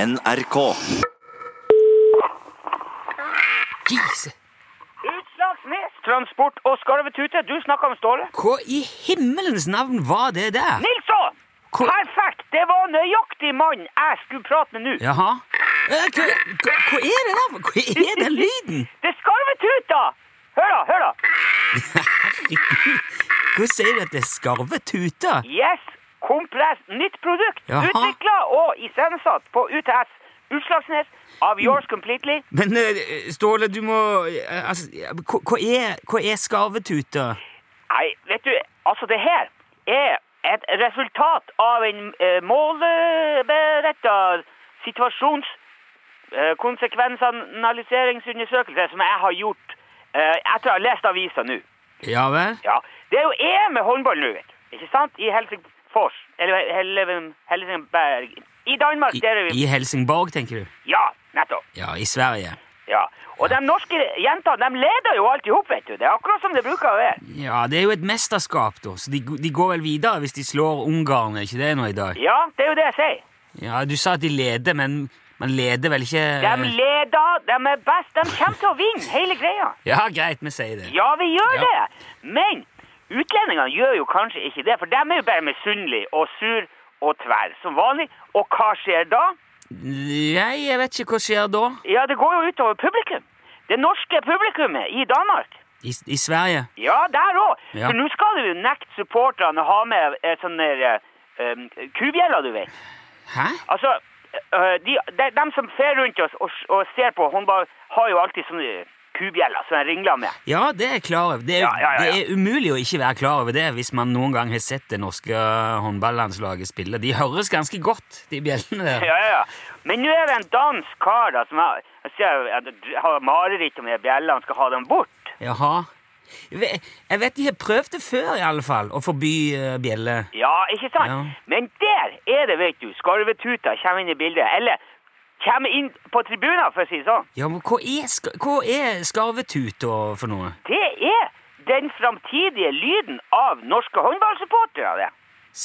NRK. Gise, Utslagsnes, transport og skarvetute. Du snakker om Ståle. hva i himmelens navn var det der? Nilsson! Hvor- Perfekt! Det var nøyaktig mannen jeg skulle prate med nå. Jaha. Eh, Hva, hva, hva er det der? Hva er den lyden? Det er skarvetuta! Hør da, hør da. Hva sier du at det er skarvetute? Yes, Kompress, nytt produkt. Jaha. Utvikla og iscenesatt på UTS Utslagsnes av Yours Completely. Men eh, Ståle, du må eh, altså, ja, hva, hva er, hva er skarvetute? Nei, vet du, altså det her er et resultat av en eh, målberetta situasjons... eh, konsekvensanalyseringsundersøkelse som jeg har gjort eh, etter å ha lest avisa nå. Ja vel? Ja, det er jo EM i håndball nå, vet du. Ikke sant? I Helsingfors. Eller Hel- Helsingberg. I Danmark, I, der er vi I Helsingborg, tenker du? Ja, nettopp. Ja, i Sverige. Ja. Og de norske jentene de leder jo alt i hop, vet du. Det er akkurat som det bruker å være. Ja, det er jo et mesterskap, da, så de, de går vel videre hvis de slår Ungarn, er ikke det nå i dag? Ja, det er jo det jeg sier. Ja, du sa at de leder, men man leder vel ikke De leder, de er best. De kommer til å vinne hele greia. Ja, greit, vi sier det. Ja, vi gjør Ja. det. Men utlendingene gjør jo kanskje ikke det, for de er jo bare misunnelige og sur og tverr som vanlig. Og hva skjer da? Nei, jeg vet ikke hva skjer da. Ja, det går jo utover publikum. Det norske publikummet i Danmark. I, i Sverige? Ja, der òg. Ja. For nå skal du jo nekte supporterne å ha med eh, sånne eh, um, kubjeller, du vet. Hæ? Altså, eh, de, de, dem som fer rundt oss og, s- og ser på håndball, har jo alltid sånne kubjeller som de ringler med. Ja, det er jeg klar over. Det er, Ja, ja, ja, ja. det er umulig å ikke være klar over det hvis man noen gang har sett det norske håndballandslaget spille. De høres ganske godt, de bjellene der. Ja, ja, ja. Men nå er det en dansk kar da, som har, jeg ser, jeg har mareritt om de bjellene, skal ha dem bort. Jaha. Jeg ve- jeg vet de har prøvd det før, i alle fall, å forby eh, bjeller. Ja, ikke sant? Ja. Men der er det, vet du, skarvetuta kommer inn i bildet. Eller kommer inn på tribunen, for å si det sånn. Ja, men hva er, sk hva er skarvetuta for noe? Det er den framtidige lyden av norske håndballsupportere. det.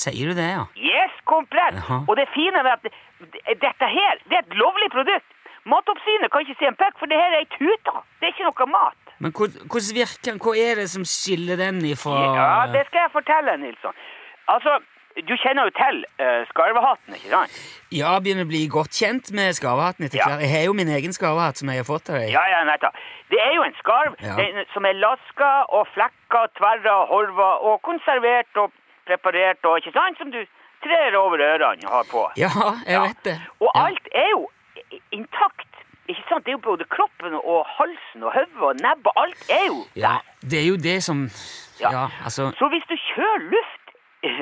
Sier du det, ja? Yes, komplett! Jaha. Og det fine med at det- dette her, det er et lovlig produkt. Matoppsynet kan ikke se en puck, for det her er ei tute. Det er ikke noe mat. Men hvor- hvordan virker den? Hva er det som skiller den ifra Ja, det skal jeg fortelle, Nilsson. Altså, du kjenner jo til eh, skarvehatten, ikke sant? Ja, begynner å bli godt kjent med skarvehatten etter Ja. hvert. Jeg har jo min egen skarvehatt som jeg har fått av deg. Ja, ja, nettopp. Det er jo en skarv Ja. den, som er laska og flekka, tverra, horva og konservert og preparert og ikke sant, som du trer over ørene og har på. Ja, jeg vet det. Og Ja. alt er jo i- intakt. Ikke sant? Det er jo både kroppen og halsen og hodet og nebbet. Alt er jo Ja, der. det er jo det som Ja. Ja, altså Så hvis du kjører luft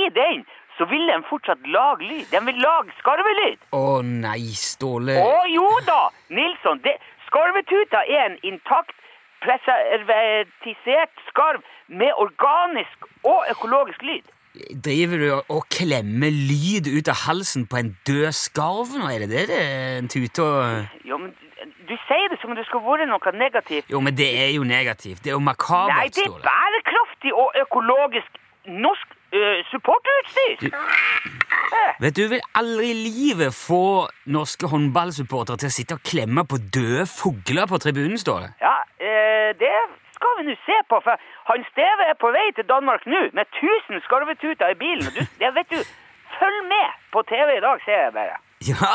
i den, så vil den fortsatt lage lyd. Den vil lage skarvelyd. Å nei, Ståle. Å jo da, Nilsson. Det, skarvetuta er en intakt, preservatisert skarv med organisk og økologisk lyd. Driver du og- og klemmer lyd ut av halsen på en død skarv nå? Er det det det er en tute og Jo, men du sier det som om det skulle vært noe negativt. Jo, men det er jo negativt. Det er jo makabert, Nei, det er Ståle. bærekraftig og økologisk norsk eh, supporterutstyr. Vet du, du vil aldri i livet få norske håndballsupportere til å sitte og klemme på døde fugler på tribunen, Ståle. Ja, eh, det skal vi nå se på, for han Steve er på vei til Danmark nå med 1000 skarvetuter i bilen. Du, det vet du, følg med på TV i dag, ser jeg bare. Ja,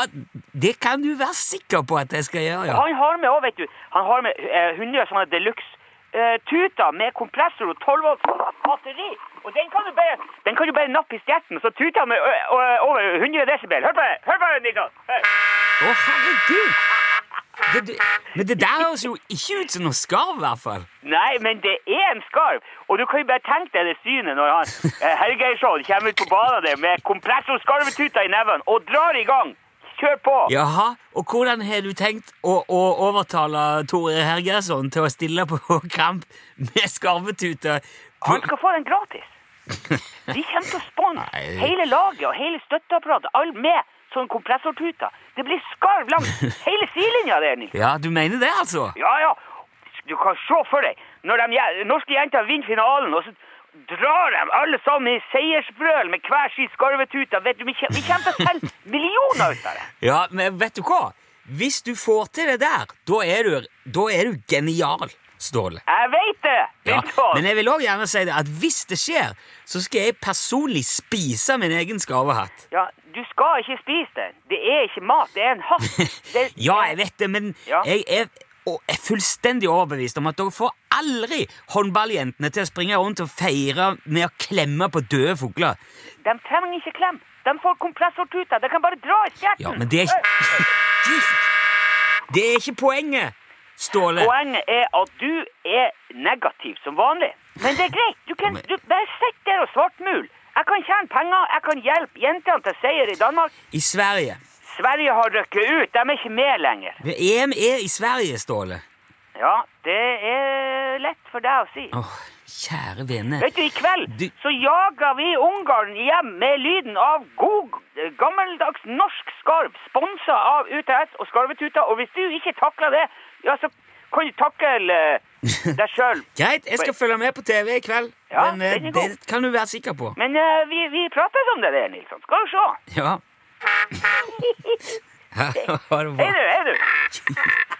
det kan du være sikker på at jeg skal gjøre, ja. Han har med òg, vet du. Han har med eh, 100 sånne deluxe-tuter med kompressor og 12 volts batteri. Og den kan du bare, den kan du bare nappe i stjerten, så tuter han med ø, ø, over 100 desibel. Hør på det! Hør på det, Niklas! Hør. Å, herregud! Det, det, men det der høres jo ikke ut som noe skarv, i hvert fall. Nei, men det er en skarv! Og du kan jo bare tenke deg det synet når han eh, Helgeirsson kommer ut på banen der med kompressorskarvetuta i neven og drar i gang! Kjør på! Jaha, og hvordan har du tenkt å, å overtale Tore Hergersson til å stille på kamp med skarvetute? på- Han skal få den gratis. De kommer til å sponse Nei. hele laget og hele støtteapparatet. All med sånn kompressortuta. Det blir skarv langs hele sidelinja der, Nils. Ja, du mener det, altså? Ja, ja. Du kan se for deg når de je- norske jenter vinner finalen, og så drar dem alle sammen i seiersbrøl med hver sin skarvetute. Vet du, vi kjem- vi kommer til å selge millioner ut av det. Ja, men vet du hva? Hvis du får til det der, da er du, da er du genial, Ståle. Jeg vet det! Ja. Vet du hva? Men jeg vil òg gjerne si det at hvis det skjer, så skal jeg personlig spise min egen skarvehatt. ja, du skal ikke spise den. Det er ikke mat, det er en hatt. Det- Ja, jeg vet det, men Ja. jeg er, og er fullstendig overbevist om at dere får aldri håndballjentene til å springe rundt og feire med å klemme på døde fugler. De trenger ikke klem. De får kompressortuter. De kan bare dra i stjerten. Ja, men det er ikke Det er ikke poenget, Ståle. Eh, Poenget er at du er negativ som vanlig. Men det er greit. Du kan Men- du, bare sitt der og svartmul. Jeg kan tjene penger, jeg kan hjelpe jentene til seier i Danmark. I Sverige. Sverige har røkket ut, de er ikke med lenger. EM er i Sverige, Ståle. Ja, det er lett for deg å si. Åh, kjære vene. Vet du, i kveld Du- så jager vi Ungarn hjem med lyden av god, gammeldags norsk skarv, sponsa av UTS og Skarvetuta. Og hvis du ikke takler det, ja, så kan du takle eh, deg sjøl. Greit, jeg skal følge med på TV i kveld. Ja, men eh, den er god. det kan du være sikker på. Men eh, vi, vi prates om det der, Nilsson. Skal du se. Ja. Ha det Hei bra. du, hei du.